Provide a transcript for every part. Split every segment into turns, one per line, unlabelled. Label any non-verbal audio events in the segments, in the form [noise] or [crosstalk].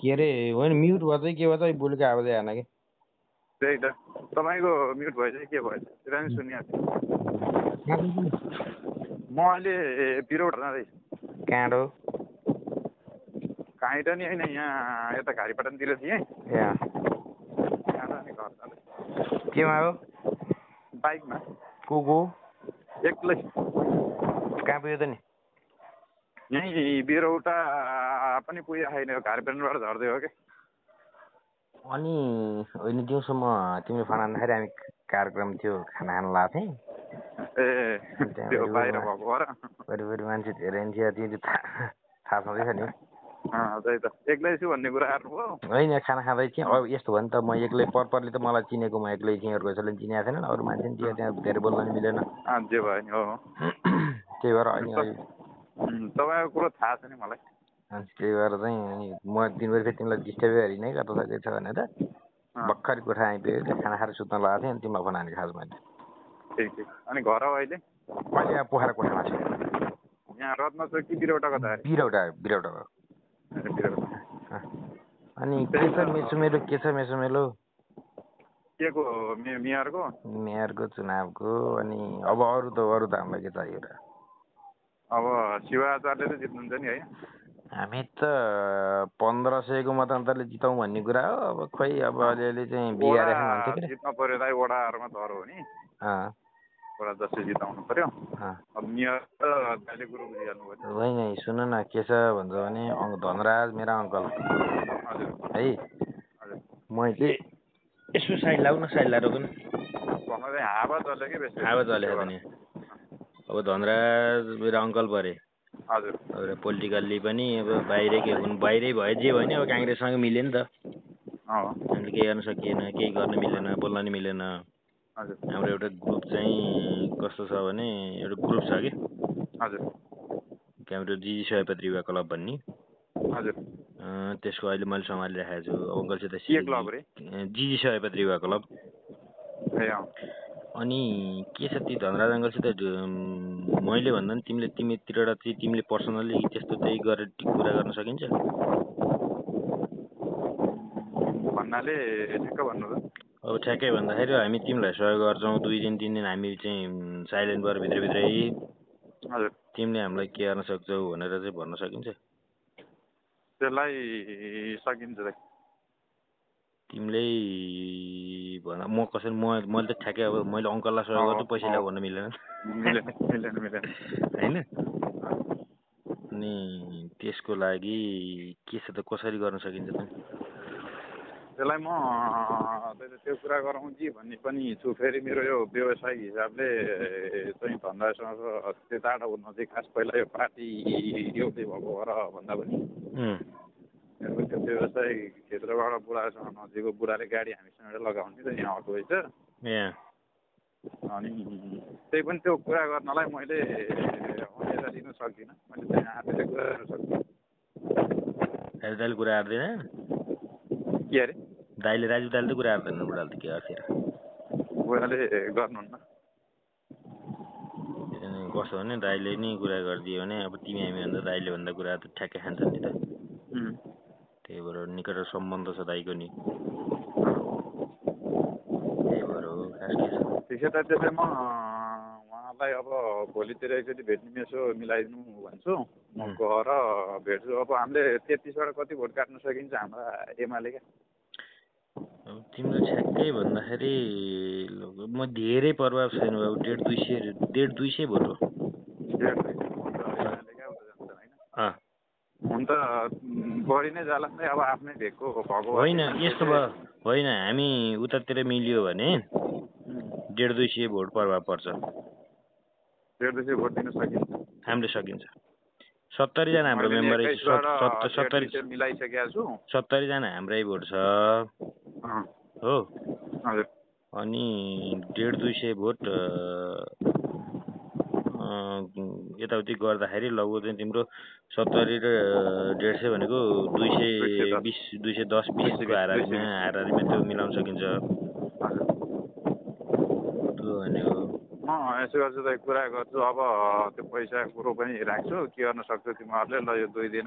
के अरे होइन म्युट गर्दै के गर्दै बोलेको आवाजै आएन कि
त्यही त तपाईँको म्युट भएछ कि के भएछ त्यो पनि सुनिहाल्छु म अहिले पिरोड जाँदैछु
काँडो
काहीँ नि होइन यहाँ यता घारीपटनतिर थिएँ
ए
यहाँ अनि घर जाँदैछु
केमा हो
बाइकमा
को को
एक्लै
कहाँ पुग्यो त नि
यहीँ बिरौटा पनि पुगेको छैन घारीपटनबाट झर्दै हो कि
अनि होइन दिउँसो म तिमीले फना खाँदाखेरि हामी कार्यक्रम थियो खाना खान लाएको थिएँ
ए त्यो बाहिर भएको हो र
वरिपरि मान्छे धेरै नि थियो त्यो थाहा थाहा छँदैछ नि
अँ, त्यही त एक्लै छु भन्ने कुरा आएको हो
होइन खाना खाँदै थिएँ अब यस्तो भयो नि त म एक्लै परपरले त मलाई चिनेको म एक्लै थिएँ अर्को कसैले चिनेको थिएन अरू मान्छे नि थियो त्यहाँ धेरै बोल्न नि मिलेन
अँ, जे भयो नि हो
त्यही भएर अनि अहिले-
उम्, तपाईँको कुरो थाहा छैन मलाई
अनि त्यही भएर चाहिँ अनि म दिनभरि फेरि तिमीलाई डिस्टर्बै गरी नै गर्दा सकेको छ भनेर
अँ,
भर्खर कोठा आइपुग्यो त्यहाँ खाना खाएर सुत्न लगाएको थिएँ अनि तिमीलाई फोन हाने खास मैले
ठिक ठिक अनि घर हो अहिले
मैले यहाँ पोखरा कोठामा छु
यहाँ रत्न चौक कि बिरौटा कता अरे
बिरौटा बिरौटा भयो
ए, बिरौटा
अँ। अनि के छ मेसो मेरो के छ मेसो मेरो
के को मे- मेयरको
मेयरको चुनावको अनि अब अरू त अरू त हामीलाई के चाहियो र
अब शिवाचार्यले त जित्नुहुन्छ नि है
हामी त पन्ध्र सयको मतान्तरले जितौँ भन्ने कुरा हो अब खोइ अब अलिअलि चाहिँ बिगारे भन्थ्यो
वडा
कि
जित्न पर्यो त वडाहरूमा धरो हो नि
अँ,
वडा जसले जिताउनु पर्यो
अँ।
अब मेयर त दाइले कुरो बुझिहाल्नु भयो
होइन है, सुन न के छ भन्छ भने अङ्क- धनराज मेरा अङ्कल
हजुर
है
हजुर
मैले यसो साइड लाउ न साइड लाएर रोक्नु
भर्खर चाहिँ हावा चल्यो कि बेसी
आवाज हालेको नि अब धनराज मेरो अङ्कल परे
हजुर
अब पोलिटिकल्ली पनि अब बाहिरै के हुन् बाहिरै भयो जे भयो नि अब काङ्ग्रेससँग मिल्यो नि त
अँ
हामीले केही गर्न सकिएन केही गर्न मिलेन बोल्न नि मिलेन
हजुर
हाम्रो एउटा ग्रुप चाहिँ कस्तो छ भने एउटा ग्रुप छ कि
हजुर
हाम्रो जिजी सयपत्री युवा क्लब भन्ने
हजुर
अँ, त्यसको अहिले मैले सम्हालिराखेको छु अङ्कलसित
के क्लब रे
जिजी सयपत्री युवा क्लब
ए अँ
अनि के छ ती धनराज अङ्कलसित ढ- मैले भन्दा पनि तिमीले तिमीतिरबाट चाहिँ तिमीले पर्सनल्ली त्यस्तो चाहिँ गरेर कुरा गर्न सकिन्छ
भन्नाले ठिक्क भन्नु त
अब ठ्याक्कै भन्दाखेरि हामी तिमीलाई सहयोग गर्छौँ दुई दिन तिन दिन हामी चाहिँ साइलेन्ट भएर भित्रभित्रै
हजुर
तिमीले हामीलाई के गर्न सक्छौ भनेर चाहिँ भन्न सकिन्छ
त्यसलाई सकिन्छ त
तिमीले भन म कसरी म मैले त ठ्याक्कै अब मैले अङ्कललाई सहयोग गर्छु पैसा ल्याऊ भन्न मिलेन
मिलेन मिलेन मिलेन
होइन अनि त्यसको लागि के छ त कसरी गर्न सकिन्छ त
त्यसलाई म त्यही त त्यो कुरा गरौँ कि भन्ने पनि छु फेरि मेरो यो व्यवसायिक हिसाबले चाहिँ धन्दासँग त्यो टाढा हुन चाहिँ खास पहिला यो पार्टी एउटै भएको हो र भन्दा पनि
उम्,
मेरो त्यो व्यवसायिक क्षेत्रबाट बुढासँग नजिकको बुढाले गाडी हामीसँग एउटा लगाउने त यहाँ आएको रहेछ
यहाँ
अनि त्यही पनि त्यो कुरा गर्नलाई मैले अन्यता लिन सक्दिनँ मैले त्यहाँ आफैले कुरा गर्न सक्दिनँ
राजु दाइले कुरा आँट्दैन
के अरे
दाइले राजु दाइले त कुरा आँट्दैन बुढाले त के गर्थ्यो र
बुढाले गर्नुहुन्न
किनभने कस्तो भने दाइले नि कुरा गरिदियो भने अब तिमी हामीभन्दा दाइले भन्दा कुरा त ठ्याक्कै खान्छ नि त
उम्,
त्यही भएर निकट सम्बन्ध छ दाइको नि त्यही भएर हो खास के छ
ठिक छ त त्यसले म उहाँलाई अब भोलितिर एकचोटि भेट्ने मेसो मिलाइदिनु भन्छु म
उम्.
गएर भेट्छु अब हामीले तेत्तिसबाट कति भोट काट्न सकिन्छ हाम्रा एमाले क्या
अब तिम्रो ठ्याक्कै भन्दाखेरि लग- म धेरै प्रभाव छैन अब डेढ दुई सय डेढ दुई सय भोट हो
डेढ दुई सय भोट त एमाले क्या उता जान्छ होइन
अँ,
हुन त उम्, बढी नै जाला नि अब आफ्नै भेगको भएको
होइन यस्तो भयो होइन हामी उतातिर मिलियो भने
उम्,
डेढ दुई सय भोट प्रभाव पर्छ
डेढ दुई सय भोट दिन सकिन्छ
हामीले सकिन्छ सत्तरीजना हाम्रो
मैले
मेम्बर
एक्काइसबाट डेढ
सत्तरी
दुई सय मिलाइसकेको छु
सत्तरीजना हाम्रै भोट छ
अँ,
हो
हजुर
अनि डेढ दुई सय भोट अ, अ, यताउति गर्दाखेरि लगभग चाहिँ तिम्रो सत्तरी र डेढ सय भनेको दुई सय बिस दुई सय दस बिसको हाराहारीमा हाराहारीमा त्यो मिलाउन सकिन्छ
हजुर
त्यो भनेको
म यसो गर्छु त कुरा गर्छु अब त्यो पैसा कुरो पनि राख्छु के गर्न सक्छु तिमीहरूले ल यो दुई दिन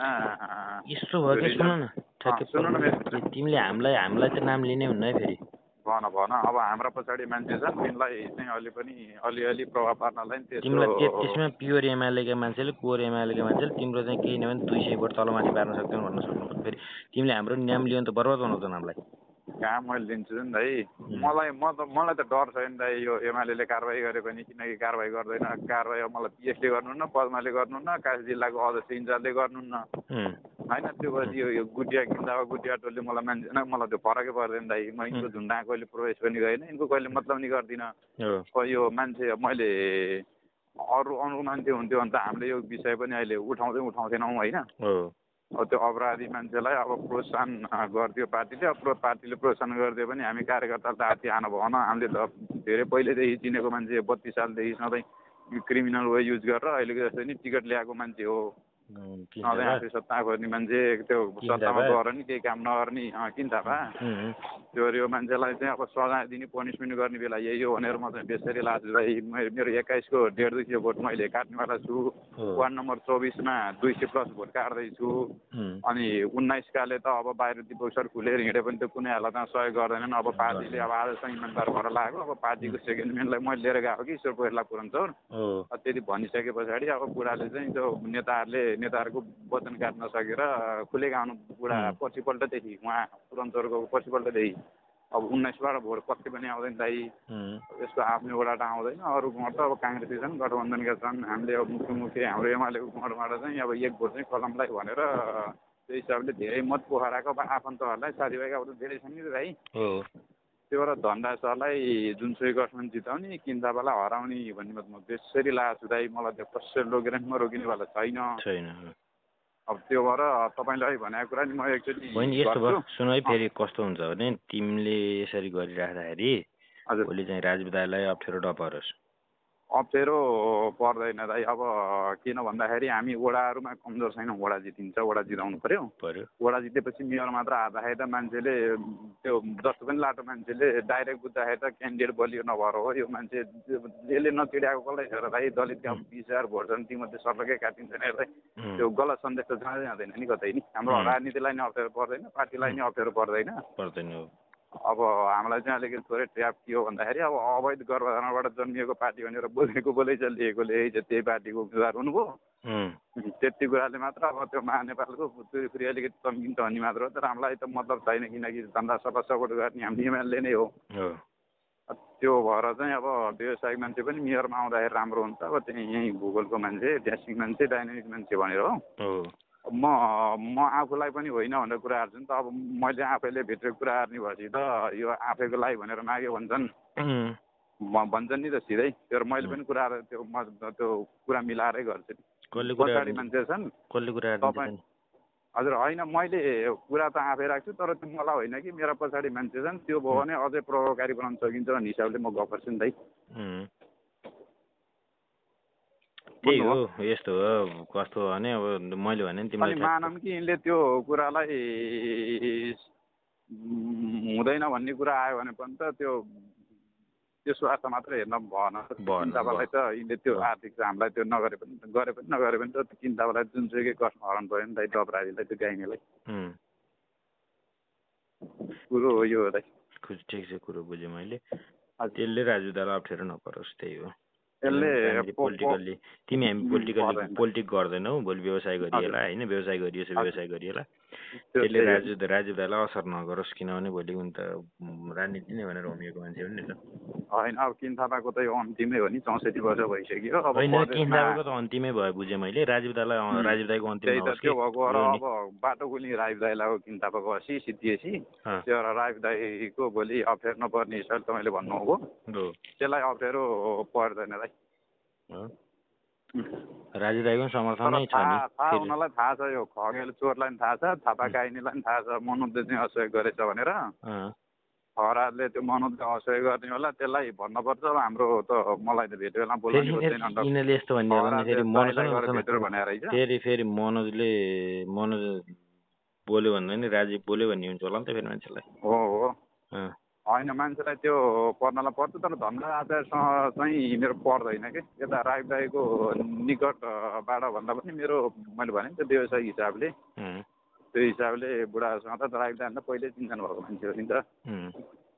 यस्तो भयो कि सुन न ठ्याक्कै
सुन न मेरो
पर्दैन। तिमीले हामीलाई हामीलाई त नाम लिने हुन्न है फेरि
भन भन अब हाम्रा पछाडि मान्छे छन् तिनलाई चाहिँ अलि पनि अलिअलि प्रभाव पार्नलाई नि
तिमीलाई त्यो-
त्यसो
त्यसमा प्योर एमआलएका मान्छेले कोर एमआलएका मान्छेले तिम्रो चाहिँ केही नभए दुई सयबाट तलमाथि पार्न सक्दैन भन्न सक्नु फेरि तिमीले हाम्रो नाम लियो भने त बर्बाद बनाउँछन् हामीलाई
कहाँ मैले दिन्छु नि दाइ मलाई म त मलाई त डर छैन दाइ यो एमआलएले कारवाही गरेको नि किनकि कारवाही गर्दैन कारवाही अब मलाई पिएसले गर्नुहुन्न पद्माले गर्नुहुन्न काशी जिल्लाको अध्यक्ष इन्चार्जले गर्नुहुन्न
उम्,
होइन त्यो पछि यो यो गुटिया किन्दाको गुटिया टोलले मलाई मान्छे नै मलाई त्यो फरकै पर्दैन दाइ म यिनको झुन्डा कहिले प्रवेश पनि गरिनँ यिनको कहिले मतलब नि गर्दिनँ
हो
अब यो मान्छे अब मैले अरू अरू मान्छे हुन्थ्यो भने त हामीले यो विषय पनि अहिले उठाउँदै उठाउँदैनौँ होइन
हो
अब त्यो अपराधी मान्छेलाई अब प्रोत्साहन अँ, गरिदियो पार्टीले अब प्रो- पार्टीले प्रोत्साहन गरिदियो भने हामी कार्यकर्ता त हात्ती खानु भएन हामीले त धेरै पहिलेदेखि चिनेको मान्छे बत्तिस सालदेखि सधैँ क्रिमिनल वे युज गरेर अहिलेको जस्तो नि टिकट ल्याएको मान्छे हो
उम्, किन
सधैँ
थाहा?
आफै सत्ता खोज्ने मान्छे त्यो
किन
सत्तामा
थाहा?
गएर नि केही काम नगर्ने अँ, किन थाहा भए?
उम्,
त्यो यो मान्छेलाई चाहिँ अब सजाय दिने पनिसमेन्ट गर्ने बेला यही हो भनेर म चाहिँ बेसरी लाज भाइ मेरो मेरो एक्काइसको डेढ दुई सय भोट मैले काट्नेवाला छु
हो।
वार्ड नम्बर चौबिसमा दुई सय प्लस भोट काट्दैछु
उम्,
अनि उन्नाइसकाले त अब बाहिर दिपक सर खुलेर हिँडे पनि त कुनै हालतमा सहयोग गर्दैनन् अब पार्टीले अब आजसम्म इमान्दार भएर लागेको अब पार्टीको सेकेन्ड म्यानलाई मैले लिएर गएको कि ईश्वर कोइराला पुरन्चौर
हो
अब त्यति भनिसके पछाडि अब बुढाले चाहिँ त्यो नेताहरूले नेताहरूको वचन काट्न सकेर खुलेका आउनु बुढा
हुँ।
पछिपल्टदेखि उहाँ पुरन्चौरको पछिपल्टदेखि अब उन्नाइसबाट भोट कति पनि आउँदैन दाइ
उम्,
यसको आफ्नोबाट त आउँदैन अरू गुण त अब काङ्ग्रेसी छन् गठबन्धनका छन् हामीले अब मुख्यमुखी हाम्रो एमालेको गुणबाट चाहिँ अब एक भोट चाहिँ कलमलाई भनेर त्यो हिसाबले धेरै मत पोखराको अब आफन्तहरूलाई साथीभाइकाहरू धेरै छन् नि त भाइ
हो
त्यो भएर धनराज सरलाई जुनसुकै गठबन्धन जिताउने किन्दाबालाई हराउने भन्ने मत म त्यसरी लागेको छु दाइ मलाई त्यो कसरी लगेर नि म रोकिनेवाला छैन
छैन हो।
अब त्यो भएर तपाईँले अहिले भनेको कुरा नि म एकचोटि
बहिनी यस्तो भयो
गर्छु
सुन है फेरि कस्तो हुन्छ भने तिमीले यसरी गरिराख्दाखेरि
हजुर
भोलि चाहिँ राजु दाईलाई अप्ठ्यारो डपरोस्
अप्ठ्यारो पर्दैन दाइ अब किन भन्दाखेरि हामी वडाहरूमा कमजोर छैनौँ वडा जितिन्छ वडा जिताउनु पऱ्यो
पऱ्यो
वडा जितेपछि मेयर मात्र हार्दाखेरि त मान्छेले त्यो जस्तो पनि लाटो मान्छेले डाइरेक्ट बुझ्दाखेरि त क्यान्डिडेट बलियो नभएर हो यो मान्छे यसले नचिडाएको कसलाई छ र भाइ दलितका बिस हजार भोट छन् तीमध्ये सर्लकै काटिन्छ नि हेर्दै
उम्,
त्यो गलत सन्देश त जाँदै जाँदैन नि कतै नि हाम्रो
हुँ।
राजनीतिलाई नि अप्ठ्यारो पर्दैन पार्टीलाई नि अप्ठ्यारो पर्दैन
पर्दैन हो
अब हामीलाई चाहिँ अलिकति थोरै ट्र्याप के हो भन्दाखेरि अब अवैध गर्भधारणबाट जन्मिएको पार्टी भनेर बोलेको बोलै चलिएकोले चाहिँ त्यही पार्टीको उम्मेदवार हुनुभयो
उम्,
त्यति कुराले मात्र अब त्यो महानेपालको तुरिफुरी अलिकति तम्किन्छ भन्ने मात्र हो तर हामीलाई त मतलब छैन किनकि धन्दा सफा सपोर्ट गर्ने हामी एमएलए नै हो
हो
अब त्यो भएर चाहिँ अब व्यवसायिक मान्छे पनि मेयरमा आउँदाखेरि राम्रो हुन्छ अब त्यहीँ यहीँ भूगोलको मान्छे ड्यासिङ मान्छे डाइनामिक मान्छे भनेर हो
हो
म म आफूलाई पनि होइन भनेर कुरा हार्छु नि त अब मैले आफैले भित्र कुरा हार्ने भएपछि त यो आफैको लागि भनेर माग्यो भन्छन्
उम्,
म भन्छन् नि त सिधै तर मैले पनि कुरा हारेर त्यो म त्यो कुरा मिलाएरै गर्छु
कसले
नि
कुरा
पछाडि
गरिदिन्छ?
मान्छे छन्
कसले कुरा गरिदिन्छ
तपाईँ-
नि?
हजुर होइन मैले कुरा त आफै राख्छु तर त्यो मलाई होइन कि मेरा पछाडि मान्छे छन् त्यो भयो भने अझै प्रभावकारी बनाउन सकिन्छ भन्ने हिसाबले म गर्छु नि दाइ
उम्। त्यही हो यस्तो हो कस्तो हो भने अब मैले भने नि
अनि
तिमीलाई थाहा-
मानौँ कि यिनले त्यो कुरालाई उम्, हुँदैन भन्ने कुरा आयो भने पनि त त्यो त्यो स्वार्थ मात्र हेर्न भएन
भएन,
किन्ताबालाई त यिनले त्यो आर्थिक चाहिँ हामीलाई त्यो नगरे पनि गरे पनि नगरे पनि त किन्ताबालाई जुनसुकै कष्ट हराउनु पऱ्यो नि त त्यो अपराधीलाई त्यो गाइनेलाई
उम्,
कुरो हो यो हो दाइ
खु- ठिक छ कुरो बुझेँ मैले
हजुर।
त्यसले राजु दालाई अप्ठ्यारो नपरोस् त्यही हो
यसले
तिमी
पो- पो-
पोलिटिकल्ली तिमी हामी
उम्,
पोलिटिकल्ली
पर्दैन।
पोलिटिक गर्दैनौ भोलि व्यवसाय गरिएला होइन व्यवसाय गरिएछ
हजुर।
व्यवसाय गरिएला
त्यो
त्यसले
चाहिँ-
राजु राजु दालाई असर नगरोस् किनभने भोलि उनी त उम्, राजनीति नै भनेर होमिएको मान्छे हो नि त
होइन अब किन थापाको त यो अन्तिमै हो नि चौसठी वर्ष भइसक्यो अब
होइन
परदेशमा
किन्दाबाको त अन्तिमै भयो बुझेँ मैले राजीव दालाई
उम्,
राजीव दाईको अन्तिम
त्यही त
नहोस् कि
त्यो भएको र
यो नि।
अब बाटो गुली राइब दाई लाग्यो किन थापाको हसी सिद्धिएसी
अँ,
त्यो भएर राइब दाईको भोलि अप्ठ्यारो नपर्ने हिसाबले तपाईँले भन्नुभएको
हो,
त्यसलाई अप्ठ्यारो पर्दैन दाइ
हो।
उम्।
राजीव दाईको पनि समर्थन
तर
नै छ नि
थाहा थाहा
फेरि।
हुनलाई थाहा छ यो खगेल चोरलाई पनि थाहा छ थापा गाइनीलाई पनि थाहा छ मनोजले चाहिँ असहयोग गरेछ भनेर
अँ,
खराजले त्यो मनोजले असहयोग गर्ने होला त्यसलाई भन्नुपर्छ अब हाम्रो त मलाई त भेट्यो बेलामा
फेरि
बोलाउने
यिनीहरू
खोज्दैन अन्त
यिनीहरूले यस्तो भन्ने हो भने
खराजले
फेरि
दाइलाई
मनोज नै
गएर
हुन्छ नि।
भेटेर भनेर रहेछ
फेरि फेरि मनोजले मनोज बोल्यो भन्दा नि राजीव बोल्यो भन्ने हुन्छ होला नि त फेरि मान्छेलाई
हो हो
अँ,
होइन मान्छेलाई त्यो पर्नलाई पर्छ तर धनराज आचार्यसँग चाहिँ मेरो पर्दैन कि यता राई दाईको निकटबाट भन्दा पनि मेरो मैले भने नि त व्यवसायिक हिसाबले
अँ,
त्यो हिसाबले बुढाहरूसँग त तर एकजना त पहिल्यै चिन्जान भएको मान्छे हो नि त
उम्,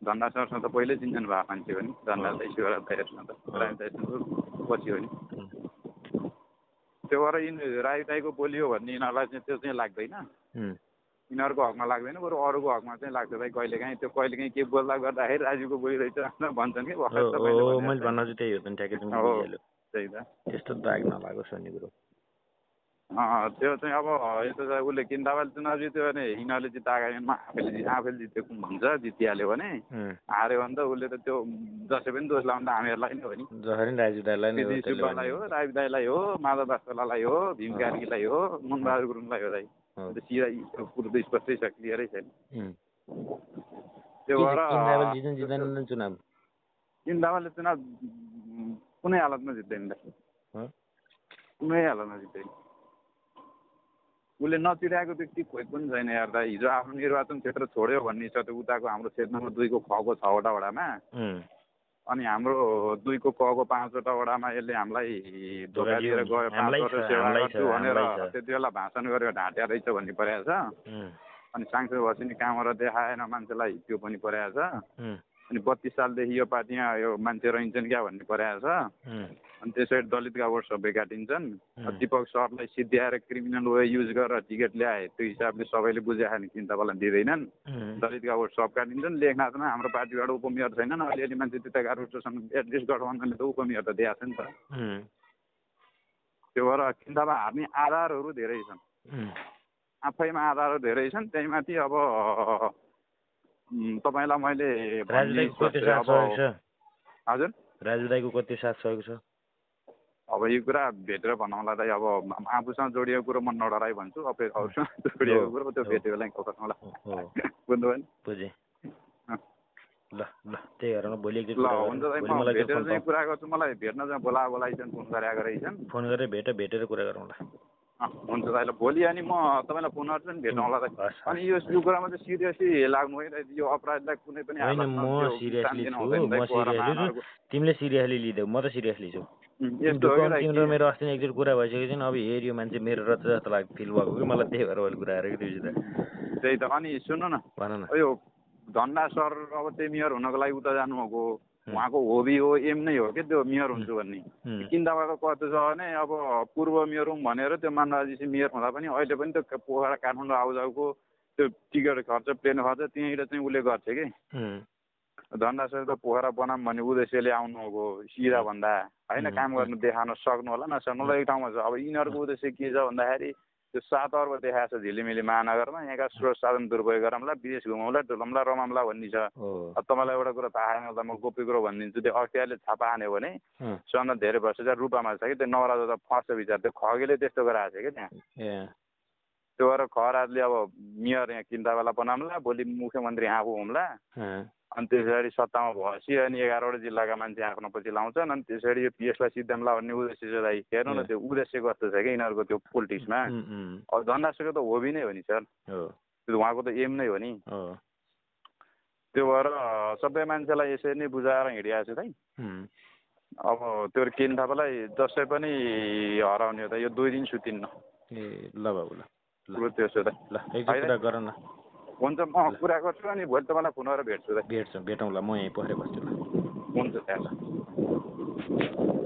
धन्दासँग त पहिल्यै चिन्जान भएको मान्छे हो नि धन्दा
अँ।
त शिवराज दाईहरूसँग त
अँ।
राई दाईसँग त पछि हो नि
उम्,
त्यो भएर यिनी राई दाईको बोली हो भन्ने यिनीहरूलाई चाहिँ त्यो चाहिँ लाग्दैन
उम्,
यिनीहरूको हकमा लाग्दैन बरु अरूको हकमा चाहिँ लाग्छ भाइ कहिले काहीँ त्यो कहिले काहीँ के बोल्दा गर्दाखेरि राजीवको बोली रहेछ [laughs] भनेर भन्छन् कि भर्खर
ओ,
तपाईँले
ओ,
भने
मैले
जस्तै।
भन्न चाहिँ त्यही हो त ठ्याक्कै तिमीले बुझिहाल्यौ।
हो। त्यही त
त्यस्तो दाग नलागोस् भन्ने कुरो
अँ, त्यो चाहिँ अब यस्तो चाहिँ उसले किन तपाईँले चुनाव जित्यो भने यिनीहरूले जित्दा आगामीमा आफैले जि- आफैले जितेको भन्छ जितिहाल्यो भने
उम्,
हार्यो भने त उसले त त्यो जसै पनि दोष लाउनु त हामीहरूलाई नै हो नि
जसरी नि राजीव दाईलाई नै हो
सिद्धि
त्यसले
सुब्बालाई हो
भन्ने।
राजीव दाईलाई हो माधव दासकोलालाई हो भीम कार्कीलाई हो मनबहादुर गुरुङलाई हो दाइ
हो।
त्यो सिधा यी कुरो त स्पष्टै छ क्लियरै छैन
उम्।
त्यो
के-
भएर
किन रावल जित्नु जित्दैन नि चुनाव
किन दामाले चुनाव उम्, कुनै हालतमा जित्दैन दाइ
हो?
कुनै हालतमा जित्दैन उसले नचिराएको व्यक्ति खोइ पनि छैन यार दाइ हिजो आफ्नो निर्वाचन क्षेत्र छोड्यो भन्ने छ त्यो उताको हाम्रो क्षेत्र नम्बर दुईको खको छवटा वडामा
उम्,
अनि हाम्रो दुईको कको पाँचवटा वडामा यसले हामीलाई धोका
धोका
दिएर
दियो।
गयो
हामीलाई
पाँचवटा
छ,
सेवा
हामीलाई छ,
गर्छु भनेर
हामीलाई छ।
त्यति बेला भाषण गरेर ढाँट्या रहेछ भन्ने परेको छ
उम्,
अनि सांसद भएपछि कामहरू देखाएन मान्छेलाई त्यो पनि परेको छ
उम्,
अनि बत्तिस सालदेखि यो पार्टीमा यो मान्छे रहन्छन् क्या भन्ने परेको छ
उम्,
अनि त्यसरी दलितका वोट सबै काटिन्छन्
उम्,
दिपक सरलाई सिद्ध्याएर क्रिमिनल वे युज गरेर टिकट ल्याए त्यो हिसाबले सबैले बुझाएन किन तपाईँलाई दिँदैनन्
उम्,
दलितका वोट सब काटिन्छन् लेखनाथमा हाम्रो पार्टीबाट उपमेयर छैनन् अलिअलि मान्छे त्यता गाह्रोसँग एटलिस्ट गठबन्धनले त उपमेयर त दिएको छ नि त
उम्,
त्यो भएर किन्तामा हार्ने आधारहरू धेरै छन्
उम्,
आफैमा आधारहरू धेरै छन् त्यही माथि अब उम्, तपाईँलाई मैले
राजु
भन्ने
दाईको कति साथ
सोचेँ,
सहयोग
अब
छ
हजुर
राजु दाईको कति साथ सहयोग छ
अब यो कुरा भेटेर भनौँला त अब आफूसँग जोडिएको कुरो म नडराई भन्छु अब फेरि अरूसँग जोडिएको
हो,
कुरो त्यो
हो।
भेटेको बेला खौला
हो, हो
बुझ्नुभयो नि
बुझेँ
अँ।
ल ल त्यही गरेर म भोलि एकदिन
ल
कुरा गरौँ।
हुन्छ दाइ
भोलि
म
मलाई एकखेप फोन पाऊ।
भेटेर चाहिँ कुरा गर्छु मलाई भेट्न चाहिँ बोला बोलाइछन् फोन गरेर गरेछन्
फोन गरेर भेट भेटेर कुरा गरौँ ल
अँ, हुन्छ दाइ ल भोलि अनि म तपाईँलाई फोन गर्छु नि भेटौँला दाइ
हस्, हस्।
अनि यो यो कुरामा चाहिँ सिरियसली लाग्नु होइन दाइ, यो अपराधलाई कुनै पनि
होइन
हालतमा
म
त्यो स्थान
सिरियसली छु म सिरियसली छु तिमीले सिरियसली
दिनु हुँदैन दाइ, कोरामा आमाहरूको-
लिँदेऊ म त सिरियसली छु
उम्, यस्तो हो कि
दुःख
दाइ,
तिम्रो
कि-
मेरो अस्ति नै एकचोटि कुरा भइसकेपछि अब हेऱ्यो मान्छे मेरो रच जस्तो लाग्यो फिल भएको कि मलाई त्यही भएर अहिले कुरा आएर कि दुई त
त्यही त अनि सुन्नु न
भन न
यो धन्दा सर अब त्यही मेयर हुनको लागि उता जानुभएको हो। उहाँको होबी हो एम नै हो कि त्यो मेयर हुन्छु भन्ने
हुँ,
किन तपाईँको कस्तो छ भने अब पूर्व मेयर हुँ भनेर त्यो मानराजी चाहिँ मेयर हुँदा पनि अहिले पनि त्यो पोखरा काठमाडौँ आउजाउको त्यो टिकट खर्च प्लेन खर्च त्यहीँनिर चाहिँ उसले गर्छ कि
हुँ,
धन्दा सर त पोखरा बनाऊँ भन्ने उद्देश्यले आउनुभएको सिधा भन्दा होइन
हुँ,
काम गर्नु देखाउन सक्नु होला नसक्नु होला एक ठाउँमा छ अब यिनीहरूको उद्देश्य के छ भन्दाखेरि त्यो सात अर्ब देखाएको छ झिलिमिली महानगरमा यहाँका स्रोत साधन दुर्पयोग गरौँला विदेश घुमाउँला डुलौँला रमाउँला भन्ने छ
हो,
अब तपाईँलाई एउटा कुरो थाहा छैन त म गोप्य कुरो भनिदिन्छु त्यो अख्तियारले छापा हान्यो भने
अँ,
सबभन्दा धेरै भ्रष्टाचार रूपामा छ कि त्यो नवराजा त फर्स्ट विचार त्यो खगेले त्यस्तो गराएको छ कि त्यहाँ
ए,
त्यो भएर खराजले अब मेयर यहाँ किन्तावाला बनाउँला भोलि मुख्यमन्त्री आफू हुम्ला
अँ,
अनि त्यस पछाडि सत्तामा भएपछि अनि एघारवटा जिल्लाका मान्छे आफ्नो पछि लाउँछन् अनि त्यस पछाडि यो पिएसलाई सिद्धामला भन्ने उद्देश्य छ दाइ हेर्नु न
ए।
त्यो उद्देश्य कस्तो छ कि यिनीहरूको त्यो पोलिटिक्समा
उम्, उम्,
अब धन्दासुको त होबी नै हो नि सर
हो,
त्यो उहाँको त एम नै हो नि
हो,
त्यो भएर अँ, सबै मान्छेलाई यसरी नै बुझाएर हिँडिरहेको छु दाइ
उम्,
अब त्यो केन थापालाई जसै पनि हराउने हो त यो दुई दिन सुतिन्न
ए, ल बाबु ल
कुरो त्यो छ दाइ
ल एकचोटि कुरा गर न
हुन्छ म कुरा गर्छु अनि भोलि तपाईँलाई फोन गरेर भेट्छु दाइ
भेट्छौँ भेटौँ ल म यहीँ पखेर बस्छु ल
हुन्छ दाइ ल।